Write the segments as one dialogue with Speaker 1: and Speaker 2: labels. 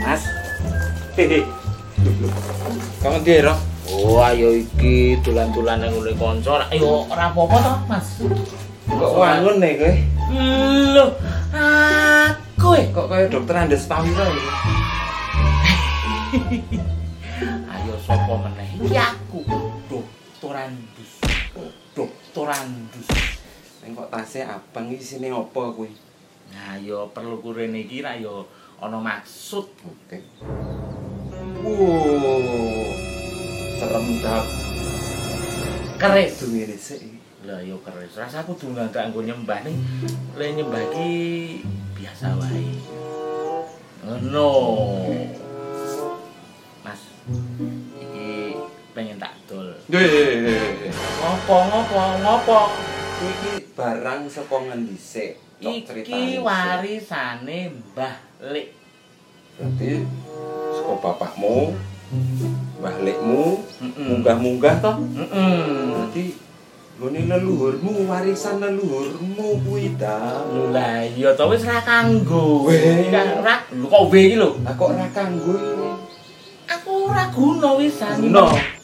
Speaker 1: Mas. Hehe.
Speaker 2: Kamu ndi, Roh?
Speaker 1: Oh, ayo iki dolan-dolan nang ngene kanca. Ayo ora apa-apa to, Mas.
Speaker 2: Kok wangun nih kowe?
Speaker 1: Lho, aku eh.
Speaker 2: Kok kaya dokter Andes Pawiro iki?
Speaker 1: Ayo sapa meneh? Iki aku, Dokter Andus. Dokter Andus.
Speaker 2: Neng kok tasnya abang iki sini opo kowe?
Speaker 1: Nah, yo perlu kurene iki ra yo ana maksud.
Speaker 2: Oke. Wow. Serem dap
Speaker 1: Keris.
Speaker 2: duwe resik iki.
Speaker 1: Lah yo keris. Rasaku dungan gak nggo nyembah ning le nyembah iki biasa wae. Ngono. Mas, iki pengen tak dol. Ngopo ngopo ngopo?
Speaker 2: Kowe iki barang saka ngendi sik? Tok critani
Speaker 1: Iki
Speaker 2: sik.
Speaker 1: warisane Mbah Lik.
Speaker 2: Berarti saka bapakmu, balikmu,
Speaker 1: Mm-mm.
Speaker 2: munggah-munggah toh.
Speaker 1: Heeh.
Speaker 2: Berarti ngene leluhurmu, warisan leluhurmu kuwi ta.
Speaker 1: Lah iya to wis ra kanggo.
Speaker 2: Weh.
Speaker 1: Kan ra lho kok we iki lho.
Speaker 2: Lah kok ora kanggo ini?
Speaker 1: Aku ora guna wisan.
Speaker 2: Guna.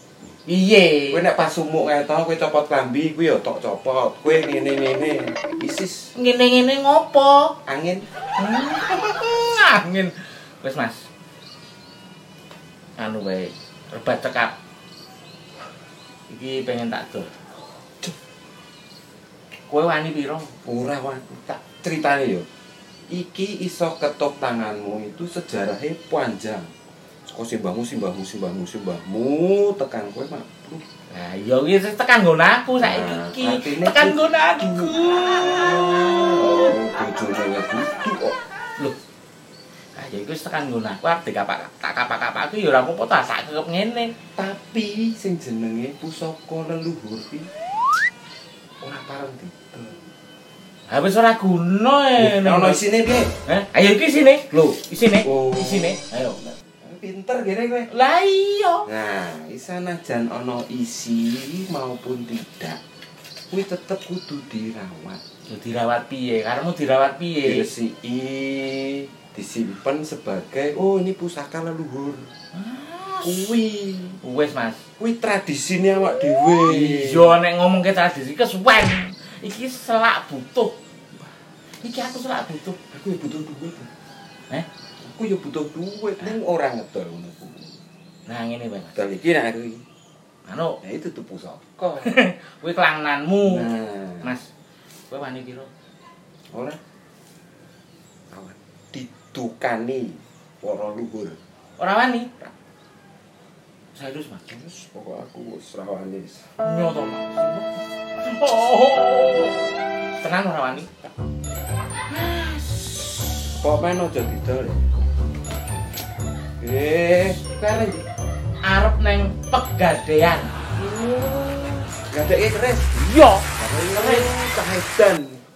Speaker 1: Piye?
Speaker 2: Kowe nek pas sumuk kae to kowe copot klambi kuwi ya tok copot. Kowe ngene-ngene isis
Speaker 1: Ngene-ngene ngopo?
Speaker 2: angin.
Speaker 1: angin wis Ah, mas anu wae rebat cekap iki pengen tak dol kowe wani piro
Speaker 2: Ora wani tak critane yo. Iki iso ketok tanganmu itu sejarahnya panjang. Saka simbahmu, simbahmu, simbahmu, simbahmu tekan kowe mak.
Speaker 1: lah iya iki wis tekan nggon aku saiki
Speaker 2: Nah,
Speaker 1: iki
Speaker 2: artine
Speaker 1: tekan
Speaker 2: ku-
Speaker 1: nggon aku
Speaker 2: Oh, bojonya gitu kok.
Speaker 1: lho ah ya iku wis tekan nggon aku arep dikapak tak kapak-kapak aku ya ora apa-apa tak sak kekep ngene
Speaker 2: Tapi sing jenenge pusaka leluhur iki ora pareng didol.
Speaker 1: ha wis ora guna
Speaker 2: Eh,
Speaker 1: e
Speaker 2: Ono isine piye?
Speaker 1: Heh, ayo iki sini lho isine
Speaker 2: Oh.
Speaker 1: isine ayo
Speaker 2: Pinter kene kowe.
Speaker 1: lah iya
Speaker 2: Nah, isana jan ono isi maupun tidak, kuwi tetep kudu dirawat.
Speaker 1: Yo dirawat piye? Karemu dirawat piye?
Speaker 2: Diresiki, disimpen sebagai oh ini pusaka leluhur. Kuwi,
Speaker 1: Wes, Mas.
Speaker 2: kuwi tradisine awak dhewe.
Speaker 1: Iya nek ngomongke tradisi kesuwen. Iki selak butuh. Iki aku selak butuh.
Speaker 2: aku ya butuh duit.
Speaker 1: Eh?
Speaker 2: Aku ya butuh duit, ning ora ngedol ngono kuwi.
Speaker 1: Nah, ngene wae, Mas.
Speaker 2: Dol iki nek aku iki.
Speaker 1: Anu,
Speaker 2: Nah itu tuh pusaka.
Speaker 1: kuwi kelangananmu.
Speaker 2: Nah,
Speaker 1: Mas, kowe wani piro?
Speaker 2: ora awak didukani para luhur.
Speaker 1: Ora wani? Serius, Mas.
Speaker 2: Terus pokok aku serawani
Speaker 1: Nyoto, Mas. Oh. Tenang ora wani.
Speaker 2: Kok main aja didol ya? Eh, keren
Speaker 1: Arep neng pegadaian.
Speaker 2: Gak ada keres
Speaker 1: Yo.
Speaker 2: Keren Kahedan